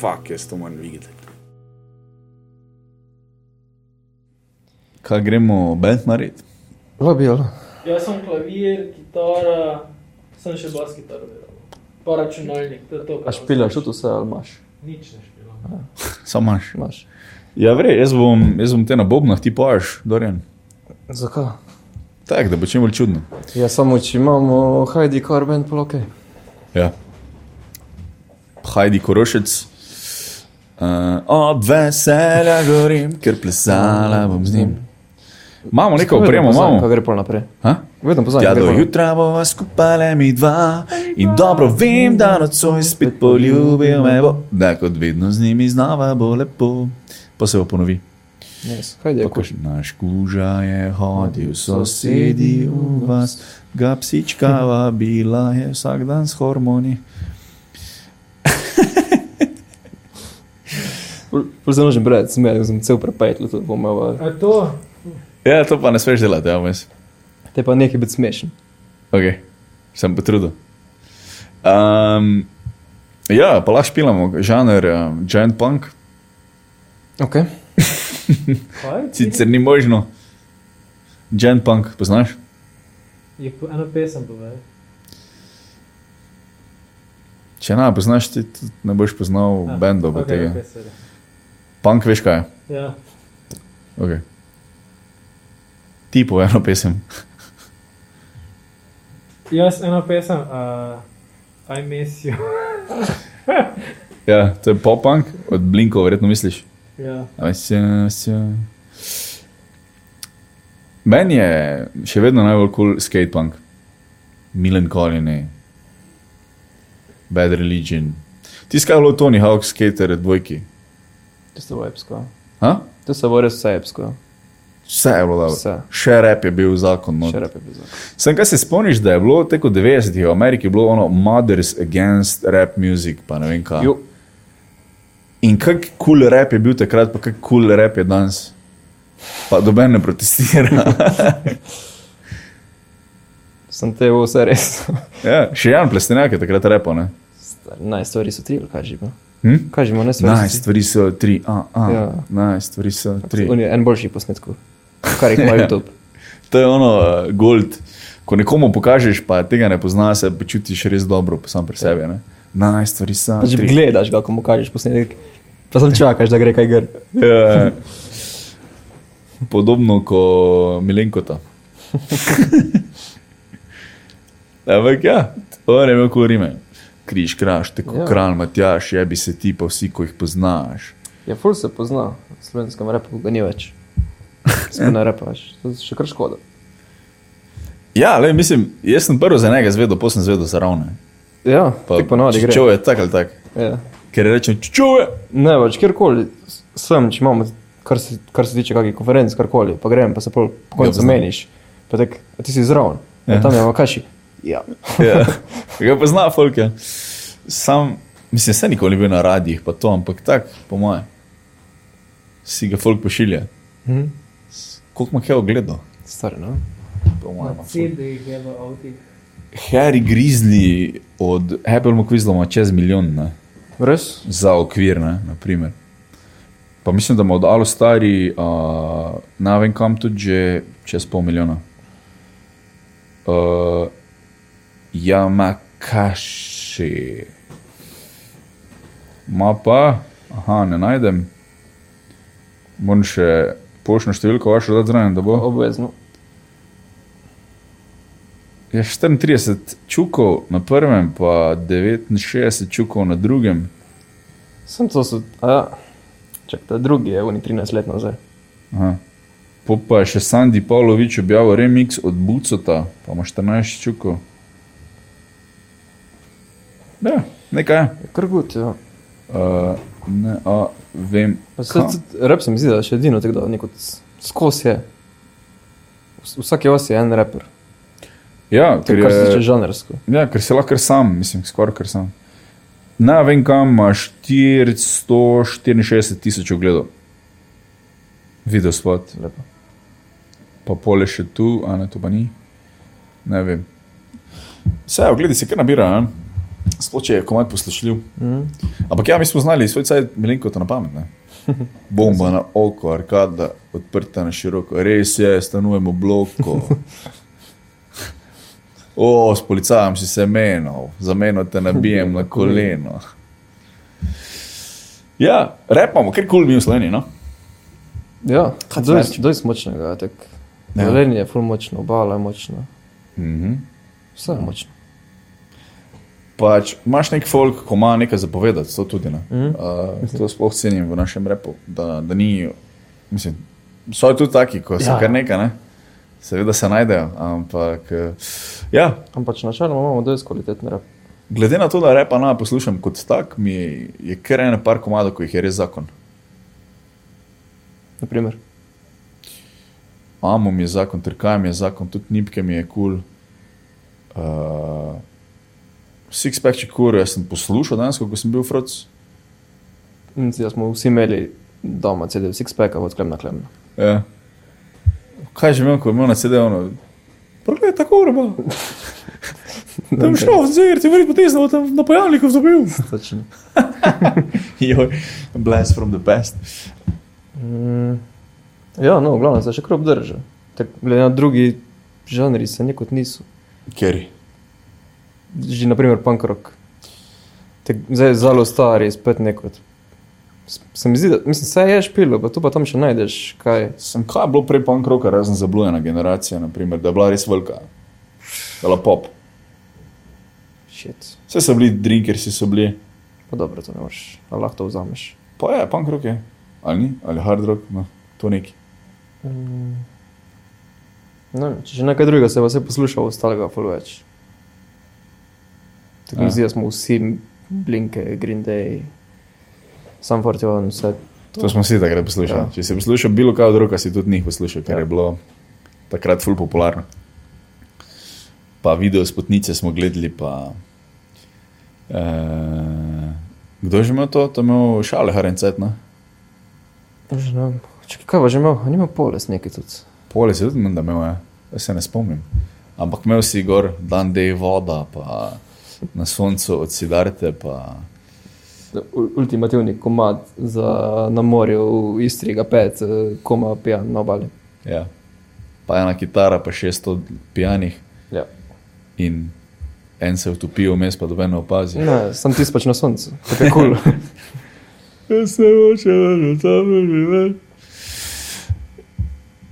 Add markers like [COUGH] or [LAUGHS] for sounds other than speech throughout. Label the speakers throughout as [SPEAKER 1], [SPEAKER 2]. [SPEAKER 1] fuck, jaz to moram videti.
[SPEAKER 2] Kaj gremo, bend narediti?
[SPEAKER 3] Vabilo.
[SPEAKER 4] Jaz sem klavir, kitara, sem še bas kitaro delal. Pa računalnik, to je to.
[SPEAKER 3] A špilaš tudi vse ali imaš?
[SPEAKER 4] Nič ne špilam.
[SPEAKER 2] Samo imaš.
[SPEAKER 3] imaš.
[SPEAKER 2] Ja, vre, jaz bom, jaz bom te na bobnah, ti paš, Dorjan.
[SPEAKER 3] Zakaj?
[SPEAKER 2] Tako, da bo čim bolj čudno.
[SPEAKER 3] Ja, samo če imamo Heidi Karben, pa ok.
[SPEAKER 2] Ja. Hajdi korošec. Uh, od veselja gorim, ker plesala bom z njim. Imamo neko opremo,
[SPEAKER 3] Kaj
[SPEAKER 2] imamo.
[SPEAKER 3] gre pol naprej?
[SPEAKER 2] Ha?
[SPEAKER 3] Vedno
[SPEAKER 2] Tja
[SPEAKER 3] poznam.
[SPEAKER 2] Ja, do jutra bova skupale mi dva in dobro vem, da nocoj spet poljubil me bo, da kot vedno z njimi znova bo lepo. Pa se bo ponovi.
[SPEAKER 3] Yes. Heidi je
[SPEAKER 2] Tako
[SPEAKER 3] kuš.
[SPEAKER 2] še naš kuža je hodil, sosedi v vas, ga psička bila je vsak dan s hormoni.
[SPEAKER 3] Pozdrav, že brat, smejal sem cel prepetl, to bom imel.
[SPEAKER 4] A to?
[SPEAKER 2] Ja, to pa ne smeš delati, ja, vmes.
[SPEAKER 3] Te pa nekaj biti smešen.
[SPEAKER 2] Ok, sem potrudil. Um, ja, pa lahko špilamo, žanr um, Giant Punk,
[SPEAKER 3] Ok.
[SPEAKER 4] Kaj?
[SPEAKER 2] sicer ni možno. Giant Punk, poznaš?
[SPEAKER 4] Je po- eno pesem povej.
[SPEAKER 2] Če ne, poznaš ti, tudi ne boš poznal
[SPEAKER 4] A,
[SPEAKER 2] bendov okay,
[SPEAKER 4] Ah, okej,
[SPEAKER 2] tega.
[SPEAKER 4] okej,
[SPEAKER 2] Okay.
[SPEAKER 4] sorry.
[SPEAKER 2] Punk, veš kaj je?
[SPEAKER 4] Ja,
[SPEAKER 2] Okay. Tipo eno pesem.
[SPEAKER 4] jaz eno pesem, uh, I miss you. [LAUGHS]
[SPEAKER 2] Ja, to je pop-punk, od Blinkov, verjetno misliš.
[SPEAKER 4] ja.
[SPEAKER 2] A veš, ja, veš, ja. Meni je še vedno najbolj kul cool skatepunk, Milan Colin, Bad Religion. Tiskaj je bilo Tony Hawk, skater, dvojki.
[SPEAKER 3] To se bo epsko.
[SPEAKER 2] Ha?
[SPEAKER 3] To se bo res vse epsko.
[SPEAKER 2] Vse je bilo dobro.
[SPEAKER 3] Vse.
[SPEAKER 2] Še rep je bil zakon. no.
[SPEAKER 3] Še
[SPEAKER 2] Not.
[SPEAKER 3] rep je bizar.
[SPEAKER 2] Sem kaj se spomniš, da je bilo teko 90-ih v Ameriki bilo ono Mothers Against Rap Music, pa ne vem kaj.
[SPEAKER 3] Jo,
[SPEAKER 2] In kak kul cool rap je bil takrat, pa kak kul cool rap je danes. Pa doben ne
[SPEAKER 3] [LAUGHS]
[SPEAKER 2] protestira.
[SPEAKER 3] sem te bo vse res. [LAUGHS]
[SPEAKER 2] ja, še en plestenjak je takrat repo, ne?
[SPEAKER 3] Star, naj stvari so tri, ali kaj že bo.
[SPEAKER 2] Hm?
[SPEAKER 3] Kaj že bo, ne stvari.
[SPEAKER 2] Naj, stvari so tri, a, a, ja.
[SPEAKER 3] Ja.
[SPEAKER 2] naj, stvari so tri.
[SPEAKER 3] On je en boljši posnetkov, kar jih ima
[SPEAKER 2] [LAUGHS] Ja.
[SPEAKER 3] YouTube.
[SPEAKER 2] To je ono, uh, gold. Ko nekomu pokažeš, pa tega ne pozna, se počutiš res dobro, pa sam pri sebi, ne? Naj, stvari so
[SPEAKER 3] Ja. Pač
[SPEAKER 2] tri.
[SPEAKER 3] gledaš ga, ko mu kažeš posnetek, pa sem čakaš, da gre kaj gre.
[SPEAKER 2] Ja. Podobno kot Milenkota. Ampak ja, on je imel kurime. Križ, kraš, tako ja.
[SPEAKER 3] Ja.
[SPEAKER 2] kralj, matjaš, je bi se ti pa vsi, ko jih poznaš.
[SPEAKER 3] Ja, ful se pozna, v slovenskem repu ga ni več. Sploh ne repaš, to je še kar škoda.
[SPEAKER 2] Ja, le, mislim, jaz sem prvo za njega zvedel, potem sem zvedel za ravne.
[SPEAKER 3] Ja, pa, ti ponovadi gre.
[SPEAKER 2] Čučo je tak ali tak.
[SPEAKER 3] Ja.
[SPEAKER 2] Ker rečem, čučo je.
[SPEAKER 3] Ne več, kjerkoli sem, če imamo, kar se, kar se tiče kakih konferenc, karkoli, pa grem, pa se pol po
[SPEAKER 2] Ja,
[SPEAKER 3] koncu
[SPEAKER 2] poznam.
[SPEAKER 3] meniš. Pa tak, a ti si zraven, ja. tam je makaši. Ja. [LAUGHS]
[SPEAKER 2] Ja. Ga pozna, folk je. Sam, mislim, se nikoli ni bil na radijih, pa to, ampak tak, po moje. Si ga folk pošilja.
[SPEAKER 3] Mhm.
[SPEAKER 2] Koliko ima kaj ogledal?
[SPEAKER 3] Stari, no?
[SPEAKER 2] Po moje ima folk.
[SPEAKER 4] CD jih je v avtih.
[SPEAKER 2] Harry Grizzly od Apple McQuizla ima čez milijon ne?
[SPEAKER 3] Res?
[SPEAKER 2] za okvir, ne? naprimer. Pa mislim, da ima od Alo Stari, uh, na vem kam tudi že čez pol milijona. Uh, Jamakaši. Ma pa, aha, ne najdem. Moram še poštno številko vašo dati zraven, da bo.
[SPEAKER 3] Obvezno.
[SPEAKER 2] Je 34 čukov na prvem, pa 69 čukov na drugem.
[SPEAKER 3] Sem to so, a ja. Čak, ta drugi je, oni 13 let nazaj.
[SPEAKER 2] Aha. Po pa je še Sandy Pavlović objavil remix od Bucota, pa ima 14 čukov. Ja, nekaj. je.
[SPEAKER 3] Je Kar gut, ja.
[SPEAKER 2] Uh, ne, a, vem.
[SPEAKER 3] Pa se
[SPEAKER 2] kam.
[SPEAKER 3] tudi- Rap se mi zdi, da je še edino tega, neko skos je. V- Vsaki vas je en raper,
[SPEAKER 2] Ja,
[SPEAKER 3] to,
[SPEAKER 2] ker,
[SPEAKER 3] kar se tiče
[SPEAKER 2] je,
[SPEAKER 3] žanrsko.
[SPEAKER 2] ja, ker si lahko kar sam, mislim, skoraj kar sam. Na vem kam imaš 464 tisoč ogledov. Video spot.
[SPEAKER 3] Lepo.
[SPEAKER 2] pa pole še tu, ja, a ne to pa ni. Ne vem. Vse, ogledi se kar nabira. a? Sploh če je komaj poslušljiv.
[SPEAKER 3] Mm.
[SPEAKER 2] Ampak ja, mi smo znali svoj cajt malenkota na pamet. Ne? Bomba na oko, arkada, odprta na široko. Res je, stanujemo v bloku. O, s policajem si se menil, za meno te nabijem na koleno. Ja, repamo, ker kul cool bi v Sloveniji. No?
[SPEAKER 3] Ja,
[SPEAKER 2] Kaj ti reči?
[SPEAKER 3] zelo močnega. ja, tako.
[SPEAKER 2] Ja.
[SPEAKER 3] Velenje je ful močno, obala je močna,
[SPEAKER 2] Mhm.
[SPEAKER 3] vse je močno.
[SPEAKER 2] Pač imaš nek folk, ko ima nekaj zapovedati, to tudi ne.
[SPEAKER 3] Mhm.
[SPEAKER 2] Uh, to sploh cenim v našem repu, da, da ni. Mislim, so tudi taki, ko so
[SPEAKER 3] Ja.
[SPEAKER 2] ja. kar nekaj, ne? seveda se najdejo, ampak eh, ja,
[SPEAKER 3] Ampak načeloma imamo dovolj kvaliteten rap.
[SPEAKER 2] glede na to, da repa na poslušam kot tak, mi je, je kar ena par komadov, ko jih je res zakon.
[SPEAKER 3] Naprimer,
[SPEAKER 2] Amom je zakon, trkajem je zakon, tudi nipke mi je kul. Cool. Uh, Sixpack je kur, jaz sem poslušal danes, ko sem bil v Frocu.
[SPEAKER 3] Mislim, da smo vsi imeli doma CD, six pack, od klem na klem.
[SPEAKER 2] Ja. Kaj že vem, ko imam na CD-u? Poglej, tako [LAUGHS] roba. Tam je šlo, zdaj ti vrti potezno, tam na pojavniku [LAUGHS] zabil.
[SPEAKER 3] Točno.
[SPEAKER 2] Joj, blast from the past.
[SPEAKER 3] Mm, ja, no, glavno se še krop drži. Tak, glede na drugi žanri se nekot niso.
[SPEAKER 2] Keri.
[SPEAKER 3] Že naprimer punk rock. Tak, zdaj je zelo star, je spet nekot. S- Se mi zdi, da, mislim, vse je špilo, pa tu pa tam še najdeš kaj.
[SPEAKER 2] Sem kaj je bilo prej punk roka, razen zablujena generacija, naprimer, da je bila res velika. Bila pop.
[SPEAKER 3] Shit.
[SPEAKER 2] Vse so bili drinkersi, so bili.
[SPEAKER 3] Pa dobro, to ne moreš, ali lahko to vzameš.
[SPEAKER 2] Pa je, punk rock je. Ali ni, ali hard rock, no, to neki.
[SPEAKER 3] Mm. Ne, vem, če še nekaj drugega se pa vse posluša, ostalega pa več. Tako
[SPEAKER 2] Ja.
[SPEAKER 3] mi zdi, da smo vsi Blinke, Green Day, Sam Fortion, vse.
[SPEAKER 2] To smo vsi takrat poslušali. Ja.
[SPEAKER 3] Ja.
[SPEAKER 2] Če si poslušal bilo kaj drugega, si tudi njih poslušal, ker ja.
[SPEAKER 3] Ja.
[SPEAKER 2] je bilo takrat ful popularno. Pa video s potnice smo gledali. Pa, eh, kdo je že imel to? To je imel šale, harencet. no? Ne?
[SPEAKER 3] Že ne vem. Čakaj, kaj pa že imel? A Nima poles neki tudi.
[SPEAKER 2] Pole si tudi, menda imel, ja. Jaz se ne spomnim. Ampak imel si gor, dan dej voda, pa na soncu odsidarte. Pa...
[SPEAKER 3] U- Ultimativni komad za na morju v Istri, ga pet, eh, koma pijan na obali.
[SPEAKER 2] Ja. Pa ena kitara, pa 600 pijanih
[SPEAKER 3] Ja.
[SPEAKER 2] in en se utopi vmes, pa doben ne opazi.
[SPEAKER 3] Ne, sem ti pač na soncu, tako je kul. Cool.
[SPEAKER 2] Jaz se hočem, da tam živim.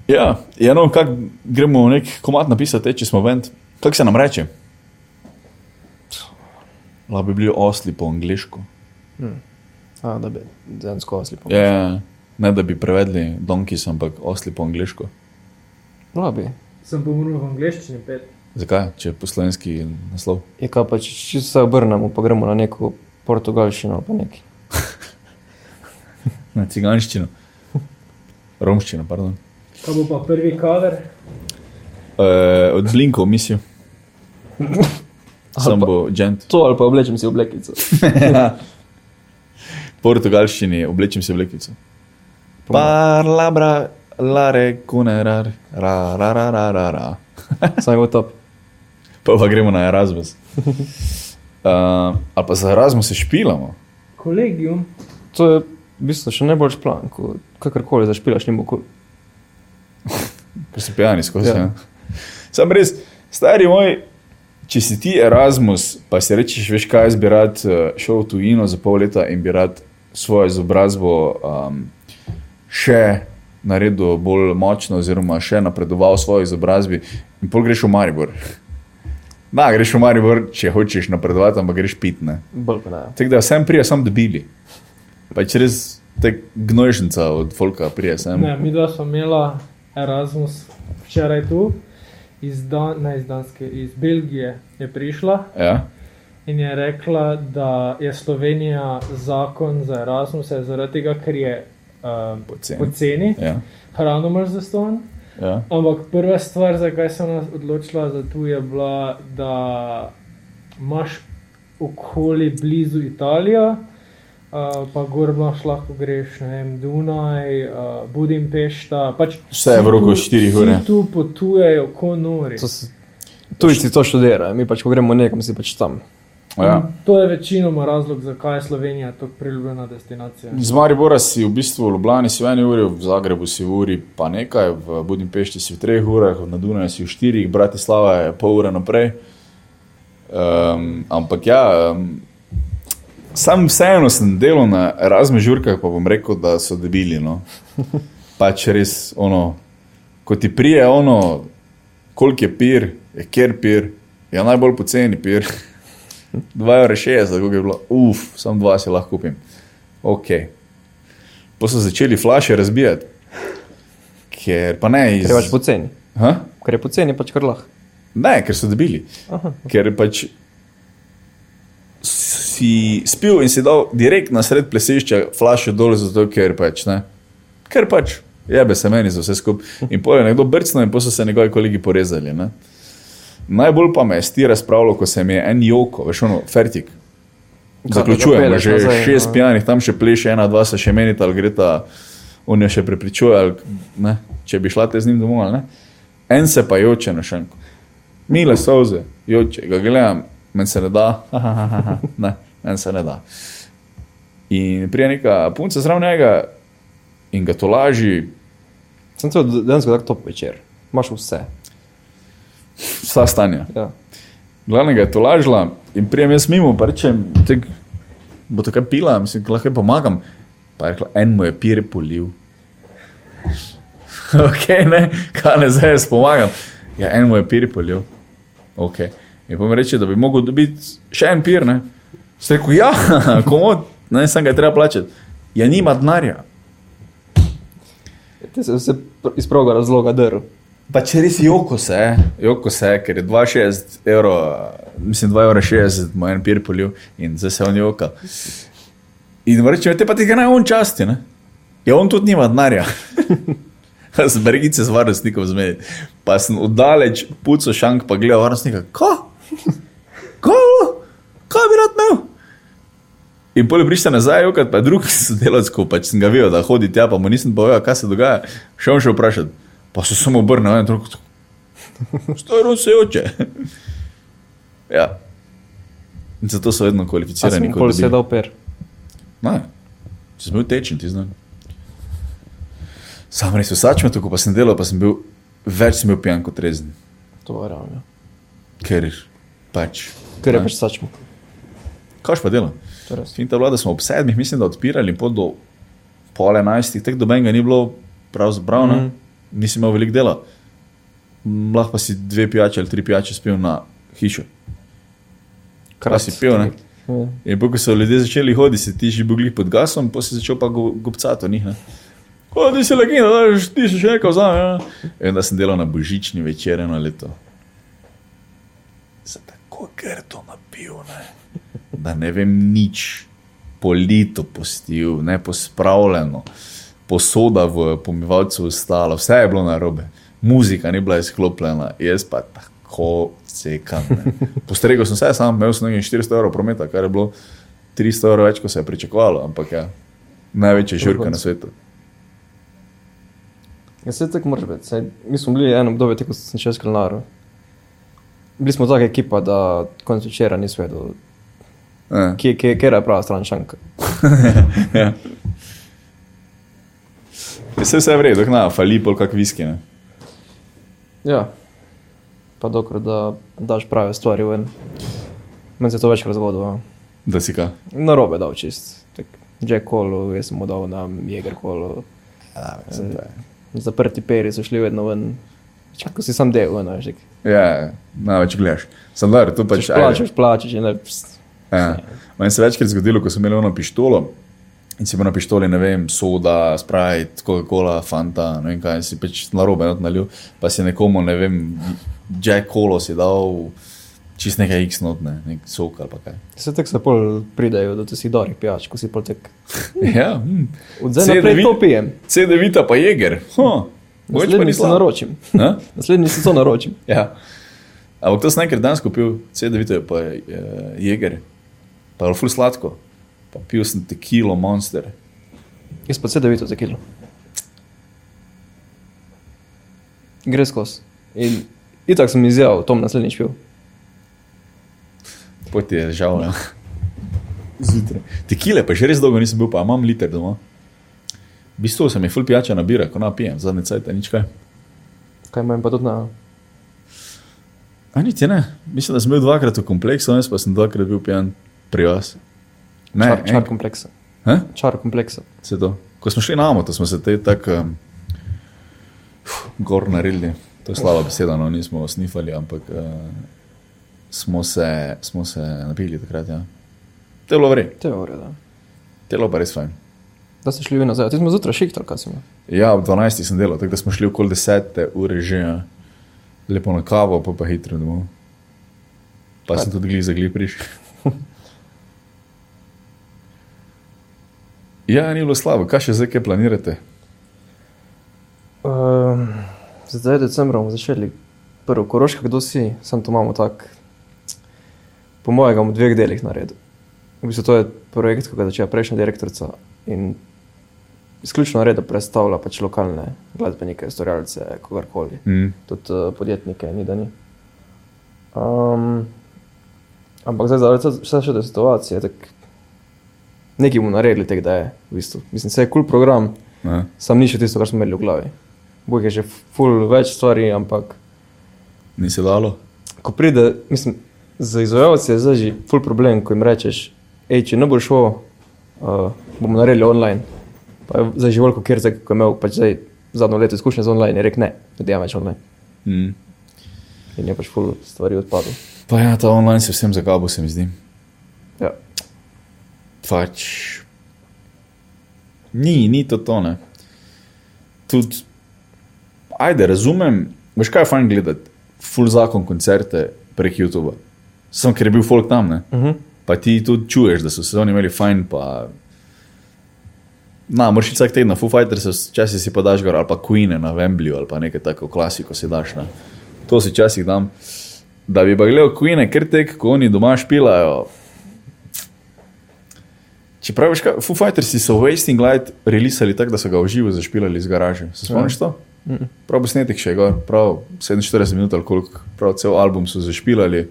[SPEAKER 2] Ja, ja no, kak, gremo nek komat napisati, če smo ven. Kako se nam reče? Lahko bi bili osli po angliško.
[SPEAKER 3] A, da bi dejansko oslipo.
[SPEAKER 2] Ja, ja, ne da bi prevedli donkeys, ampak osli po angliško.
[SPEAKER 3] Labi.
[SPEAKER 4] Sem pomrl v angleščini pet.
[SPEAKER 2] Zakaj, če je poslovenski naslov?
[SPEAKER 3] Je kaj pa, če če se obrnemo, pa gremo na neko portugalščino ali pa nekaj.
[SPEAKER 2] Na ciganščino. Romščino, pardon.
[SPEAKER 4] Kaj bo pa prvi kaver?
[SPEAKER 2] E, od blinkov, [LAUGHS] mislim. Sam bo džent.
[SPEAKER 3] To ali pa oblečem si oblekico. [LAUGHS]
[SPEAKER 2] portugalščini oblečem se v lekico. Parlabra, lare, kunerar, ra, ra, ra, ra, ra, ra.
[SPEAKER 3] Sam je bil top.
[SPEAKER 2] Pa, pa gremo na [LAUGHS] Erasmus. Uh, ali pa za Erasmus se špilamo.
[SPEAKER 4] Kolegium.
[SPEAKER 3] To je v bistvu še najboljši plan, ko kakorkoli zašpilaš, ni mogoče.
[SPEAKER 2] ker si pijani skozi.
[SPEAKER 3] Ja.
[SPEAKER 2] Ja. Sam res, stari moj, če si ti Erasmus, pa si rečeš, veš kaj, jaz bi rad eh, šel v tujino za pol leta in bi rad svojo izobrazbo um, še naredil bolj močno, oziroma še napredoval v svoji izobrazbi, in pol greš v Maribor. Da, greš v Maribor, če hočeš napredovati, ampak greš pitne.
[SPEAKER 3] Bolj kot ne.
[SPEAKER 2] Tako da sem prije, sem debili. Pač res te gnojšnica od Folka prije sem.
[SPEAKER 4] Ne, mi dva smo imela Erasmus včeraj tu, iz, Dan ne, iz Danske, iz Belgije je prišla
[SPEAKER 2] Ja,
[SPEAKER 4] in je rekla, da je Slovenija zakon za Erasmus, zaradi tega, ker je um,
[SPEAKER 2] Poceni.
[SPEAKER 4] poceni,
[SPEAKER 2] ja,
[SPEAKER 4] hrano mrz zaston.
[SPEAKER 2] ja.
[SPEAKER 4] Ampak prva stvar, zakaj sem nas odločila za tu, je bila, da imaš okoli blizu Italijo, uh, pa gor imaš lahko greš, ne vem, Dunaj, uh, Budimpešta. Pač
[SPEAKER 2] Vse je v
[SPEAKER 4] vsi
[SPEAKER 2] roku
[SPEAKER 4] tu-
[SPEAKER 2] štirih
[SPEAKER 4] vsi
[SPEAKER 2] ur, ja. ne?
[SPEAKER 4] Tu potujejo, ko nori.
[SPEAKER 3] To se- Tujci to študirajo, mi pač ko gremo nekam, si pač tam.
[SPEAKER 2] Ja.
[SPEAKER 4] To je večinoma razlog, zakaj je Slovenija tako priljubljena destinacija.
[SPEAKER 2] Iz Maribora si v bistvu v Ljubljani si v eni uri, v Zagrebu si v uri pa nekaj, v Budimpešti si v treh urah, na Dunaju si v štirih, Bratislava je pol ure naprej. Um, ampak ja, um, sam vseeno sem delal na raznih žurkah, pa bom rekel, da so debili. No. Pač res ono, ko ti prije ono, koliko je pir, je kjer pir, je najbolj poceni pir. 2,60 evra, kako je bilo, uf, sam dva si lahko kupim. Ok. Pa so začeli flaše razbijati, ker pa ne iz.
[SPEAKER 3] Ker je pač poceni.
[SPEAKER 2] Ha?
[SPEAKER 3] Ker je poceni, pač kar lahko.
[SPEAKER 2] Ne, ker so debili.
[SPEAKER 3] Aha.
[SPEAKER 2] Ker pač si spil in si dal direkt na sred plesišča, flaše dol, zato ker pač ne. Ker pač jebe se meni za vse skupaj. In potem je nekdo brcnil in potem so se njegovi kolegi porezali. Ne? Najbolj pa me je sti razpravljal, ko se mi je en joko, veš, ono, fertik.
[SPEAKER 3] Kako
[SPEAKER 2] Zaključujemo,
[SPEAKER 3] dopelješ
[SPEAKER 2] že
[SPEAKER 3] nazaj,
[SPEAKER 2] šest
[SPEAKER 3] no.
[SPEAKER 2] pijanih, tam še pleše, ena, dva se še menita, ali gre ta, on jo še prepričuje, ali ne, če bi šla te z njim domov, ali ne. En se pa joče na šanku. Mile soze, joče, ga gledam, meni se ne da, [LAUGHS] ne, meni se ne da. In prije neka punca zraven njega in ga to laži,
[SPEAKER 3] Sem to danes tako top večer. Imaš vse.
[SPEAKER 2] vsa stanja.
[SPEAKER 3] Ja.
[SPEAKER 2] Glavnega je to lažila in prijem jaz mimo, pa rečem, "Tek, bo to kaj pila, mislim, da lahko ji pomagam. Pa je rekla, en mu je pir polil. [LAUGHS] ok, ne, kaj ne zdaj jaz pomagam. Ja, en mu je pir polil. Ok. In pa mi reče, da bi mogel dobiti še en pir, ne. Sem rekel, ja, [LAUGHS] komod, ne, sem ga je treba plačati. Ja, nima denarja.
[SPEAKER 3] Ti se vse pr- iz pravega razloga drl.
[SPEAKER 2] Pa če res eh? joko se je, joko se je, ker je 2,60 evra, mislim 2,60 evra, moj en pir polil in zdaj se on joka. In mu rečejo, te pa ti ga naj on časti, ne? Ja, on tudi nima denarja. [LAUGHS] Z bregice z varnostnikom zmedi. Pa sem oddaleč puco šank, pa gledal varnostnika, ko? Ko? Kaj bi rad imel? In pol je prišel nazaj, jokat, pa je drug [LAUGHS] sodelavec, ko pač sem ga videl, da hodi tja, pa mu nisem povedal, kaj se dogaja. Še on še vprašati, pa se samo obrnil, en [LAUGHS] drug. Stoj, on se joče. [LAUGHS] Ja. In zato so vedno kvalificirani. kot
[SPEAKER 3] Nikoli
[SPEAKER 2] debili.
[SPEAKER 3] se je dal per.
[SPEAKER 2] Ne, če sem bil tečen, ti znaš. Sam res vsačme, tako pa sem delal, pa sem bil več sem bil pijan kot rezen,
[SPEAKER 3] To je ravno.
[SPEAKER 2] ker pač.
[SPEAKER 3] Ker je
[SPEAKER 2] Ne.
[SPEAKER 3] pač sačmo.
[SPEAKER 2] Kaj pa delo?
[SPEAKER 3] To je res.
[SPEAKER 2] Finta vlada smo ob sedmih, mislim, da odpirali in pot do pol enajstih, tek do menga ni bilo pravzaprav, mm.
[SPEAKER 3] Mhm.
[SPEAKER 2] nisem imel veliko dela. M, Lahko pa si dve pijače ali tri pijače spil na hišo. Kaj si pil, ne?
[SPEAKER 3] Ja.
[SPEAKER 2] In pa, ko so ljudje začeli hoditi, si ti že bil glih pod gasom, pa si začel pa go, gobcati o njih. ne. O, ti si legenda, da že- ti si še nekaj vzame. Ja. In da sem delal na božični večer eno leto. Se tako grdo napil, ne? da ne vem nič, polito postil, ne pospravljeno, posoda v pomivalcu ostala, vse je bilo narobe, muzika ni bila izklopljena, jaz pa tako cekam. ne. Postregel sem se, sam imel sem nekaj 400 evrov prometa, kar je bilo 300 evrov več, kot se je pričakovalo, ampak ja, največja žurka na svetu.
[SPEAKER 3] Ja, se tako mora biti. saj Mi smo bili eno obdobje, tako sem še skrnil. Bili smo taka ekipa, da konec večera nismo vedeli,
[SPEAKER 2] Ja.
[SPEAKER 3] kje, kje, kje je prava stran šanka.
[SPEAKER 2] ja. Vse vse je v redu, dok na, fali pol kak viski. Ne?
[SPEAKER 3] Ja, pa dokler da daš prave stvari ven. Meni se je to večkrat zgodilo. no.
[SPEAKER 2] Da si ka.
[SPEAKER 3] Na robe dal čist. Tak, Jack Hall, jaz sem mu dal na Jäger Hall,
[SPEAKER 2] Ja,
[SPEAKER 3] mislim, to zaprti peri so šli vedno ven. Večkrat, Ko si sam del, eno, že.
[SPEAKER 2] Ja, največ gledaš. Sem dar, to pač. ajde.
[SPEAKER 3] Plačeš, plačeš, in ne. pst.
[SPEAKER 2] Ja. Meni se je večkrat zgodilo, ko sem imel eno pištolo in si imel na pištoli, ne vem, soda, sprite, Coca-Cola, Fanta, ne vem kaj, si pač na robe nalil, pa si nekomu, ne vem, Jack Holo si dal čist nekaj X notne, nek sok ali pa kaj.
[SPEAKER 3] Se tako se pol pridajo, da ti si dorih pijač, ko si pol tek.
[SPEAKER 2] Ja, hm.
[SPEAKER 3] Od zdaj
[SPEAKER 2] Sedem
[SPEAKER 3] naprej
[SPEAKER 2] vin-
[SPEAKER 3] to pijem.
[SPEAKER 2] C9 pa jeger. Huh. Mogoče pa
[SPEAKER 3] Naslednji
[SPEAKER 2] ni
[SPEAKER 3] si
[SPEAKER 2] slabo.
[SPEAKER 3] naročim.
[SPEAKER 2] Ha?
[SPEAKER 3] Naslednji si to naročim.
[SPEAKER 2] Ja. Ampak to sem enkrat danes kupil, CD-vite, pa je eh, jeger, pa je bilo ful sladko, pa pil sem tekilo, monster.
[SPEAKER 3] Jaz pa CD-vito za kilo. Gre skozi. In itak sem izjavil, Tom naslednjič pil.
[SPEAKER 2] poti je žal. ne. Zjutraj. Tekile, pa že res dolgo nisem bil, pa imam liter doma. V bistvu se mi ful pijača nabira, ko napijem, zadnje cajt, nič kaj.
[SPEAKER 3] Kaj manj pa tudi na.
[SPEAKER 2] A niti ne, mislim, da sem bil dvakrat v kompleksu, danes pa sem dvakrat bil pijan pri vas. Ne,
[SPEAKER 3] Čar, čar
[SPEAKER 2] en-
[SPEAKER 3] kompleksa.
[SPEAKER 2] He?
[SPEAKER 3] Čar kompleksa.
[SPEAKER 2] Se to. Ko smo šli na Amo, smo se te tako um, gor naredili. To je slaba beseda, no nismo snifali, ampak uh, smo, se, smo se napili takrat. Ja. To je bilo vredno,
[SPEAKER 3] To je v redu.
[SPEAKER 2] to je bilo pa res fajn.
[SPEAKER 3] Da ste šli vi nazaj. Ti smo zjutraj šihtal, kaj si imel.
[SPEAKER 2] Ja, ob 12. sem delal, tako da smo šli okoli 10. ure že, ja. lepo na kavo, pa pa hitro domov. Pa sem tudi glih za glih prišel. [LAUGHS] Ja, ni bilo slabo, kaj še zdaj, kaj planirate?
[SPEAKER 3] Um, zdaj, decembra bomo začeli prvo koroško, kdo si, sam to imamo tako, po mojem, v dveh delih naredil. V bistvu to je projekt, ki ga je začela prejšnja direktorica in izključno reda predstavlja pač lokalne glasbenike, ustvarjalce, kogarkoli,
[SPEAKER 2] Mm.
[SPEAKER 3] tudi uh, podjetnike, ni da ni. Um, ampak zdaj, zaradi vse- vse še te situacije, tako nekaj bomo naredili, tako da je, v bistvu. Mislim, se je kul cool program,
[SPEAKER 2] Ja.
[SPEAKER 3] Sam ni še tisto, kar smo imeli v glavi. Bog je že full več stvari, ampak
[SPEAKER 2] Ni se dalo?
[SPEAKER 3] ko pride, mislim, za izvajalce je zdaj že full problem, ko jim rečeš, hej, če ne bo šlo, uh, bomo naredili online. Pa je zdaj že veliko, ker je imel pač zdaj zadnjo leto izkušnje z online, je rekel ne, ne delam več online.
[SPEAKER 2] Mm.
[SPEAKER 3] In je pač full stvari odpadlo.
[SPEAKER 2] Pa ja, ta online se vsem zagabo, se mi zdi.
[SPEAKER 3] Ja.
[SPEAKER 2] Pač. Ni, ni to tone. Tudi, ajde, razumem, veš kaj je fajn gledati, full zakon koncerte prek YouTube. Sem ker je bil folk tam, ne?
[SPEAKER 3] Uh -huh.
[SPEAKER 2] pa ti tudi čuješ, da so se oni imeli fajn. Pa... Na, moraš iti vsak teden, Foo Fighters, včasih si pa daš gor, ali pa Queen na Wembleyju, ali pa nekaj tako klasiko si daš. Ne. To si včasih dam. Da bi pa gledal Queen, ker tek, ko oni doma špilajo. Če praviš, kaj, Foo Fighters so Wasting Light releasali tako, da so ga v živo zašpilali iz garaže. Se spomniš to? Prav posnetek še je gor, prav 47 minut ali koliko, prav cel album so zašpilali.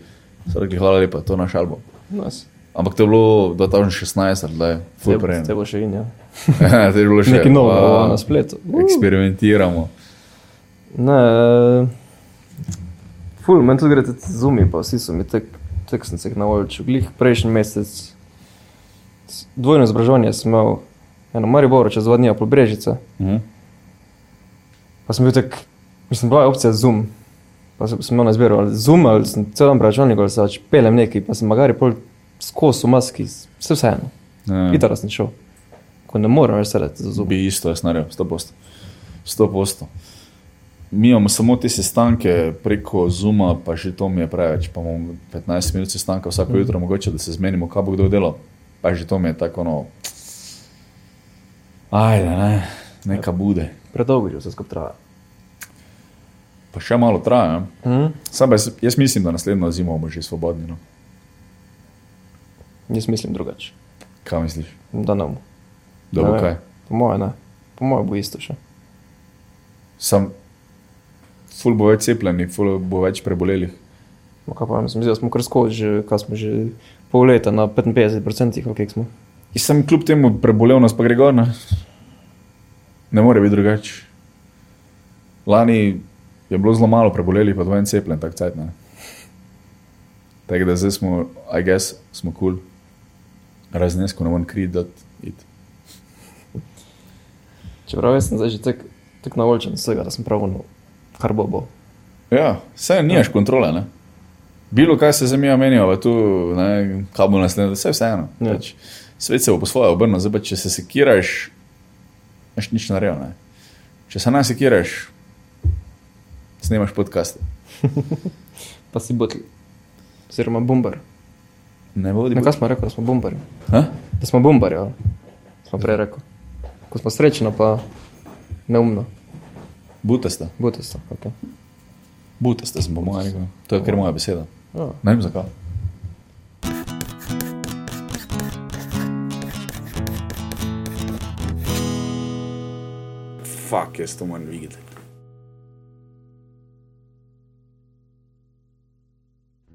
[SPEAKER 2] So rekli, hvala lepa, to je naš album.
[SPEAKER 3] Nas.
[SPEAKER 2] Ampak to je bilo 2016, ali da je
[SPEAKER 3] Te
[SPEAKER 2] ful prej. ne.
[SPEAKER 3] te bo še in ja.
[SPEAKER 2] [LAUGHS] Ja, to je bilo še
[SPEAKER 3] Nekaj novega
[SPEAKER 2] pa,
[SPEAKER 3] na spletu.
[SPEAKER 2] Eksperimentiramo.
[SPEAKER 3] Ne, eh, ful, meni tudi gre zumi, pa vsi so mi tek, tek sem se jih navolil. Glih prejšnji mesec, s- dvojno izobraževanje sem imel, eno Maribor, čez dva dni, pa Brežice.
[SPEAKER 2] Mhm.
[SPEAKER 3] Pa sem bil tak, mislim, bila je opcija zoom. Pa sem, sem imel na izbiro ali zoom ali sem cel dan računalnik ali se pač pelem nekaj, pa sem magari pol skos v maski, s- vse vseeno.
[SPEAKER 2] Ja.
[SPEAKER 3] Itara sem šel, ko ne morem več sedeti za zubi.
[SPEAKER 2] Bi isto, jaz naredim, 100%. 100%. Mi imamo samo te sestanke preko Zuma, pa že to mi je preveč. Pa imamo 15 minut sestanka vsako
[SPEAKER 3] Mhm.
[SPEAKER 2] mm. jutro, mogoče da se zmenimo, kaj bo kdo delal. Pa že to mi je tako, ono, ajde, ne, neka bude.
[SPEAKER 3] Predolgo že vse skupaj traja.
[SPEAKER 2] Pa še malo traja. ne.
[SPEAKER 3] Mhm.
[SPEAKER 2] Sam pa jaz, jaz mislim, da naslednjo zimo bomo že svobodni. No.
[SPEAKER 3] Jaz mislim drugače,
[SPEAKER 2] Kaj misliš?
[SPEAKER 3] da ne bom.
[SPEAKER 2] Da bo
[SPEAKER 3] Ne vem.
[SPEAKER 2] kaj?
[SPEAKER 3] Po mojem, ne. Po mojem bo isto še.
[SPEAKER 2] Sam, ful bo več cepljenih, ful bo več prebolelih.
[SPEAKER 3] Ma kaj pa jaz mislim, da smo kar skozi, že, kaj smo že pol leta na 55%, ali kaj smo.
[SPEAKER 2] In sem kljub temu prebolel, nas pa gre gor. Ne, ne more biti drugače. Lani je bilo zelo malo prebolelih, pa dvojen cepljen, tako cajt ne. Tako da zdaj smo, I guess, smo kul. Cool. Raznesko ne morem kriti, da it.
[SPEAKER 3] Čeprav jaz sem zdaj že tako tak navolčen vsega, da sem prav ono, kar bo bo.
[SPEAKER 2] Ja, vse nimaš kontrole, ne. Bilo kaj se zemlja menijo, pa tu, ne, kaj bo naslednje, vse vseeno.
[SPEAKER 3] Ja.
[SPEAKER 2] Pač, svet se bo po svoje obrnil, zdaj pa če se sekiraš, veš nič narejo, ne. Če se nas sekiraš, snemaš podcaste.
[SPEAKER 3] Pa si botli. Oziroma bombar.
[SPEAKER 2] Ne vodi.
[SPEAKER 3] Na kaj smo rekli, da smo bombarji?
[SPEAKER 2] Ha?
[SPEAKER 3] Da smo bombarji, ali? Smo prej rekli. Ko smo srečni, pa neumno.
[SPEAKER 2] Butasta.
[SPEAKER 3] Bote so, ok.
[SPEAKER 2] Butasta sem po mojem rekel. To je ker moja beseda.
[SPEAKER 3] Ja.
[SPEAKER 2] Ne vem zakaj. Fuck, jaz to moram videti.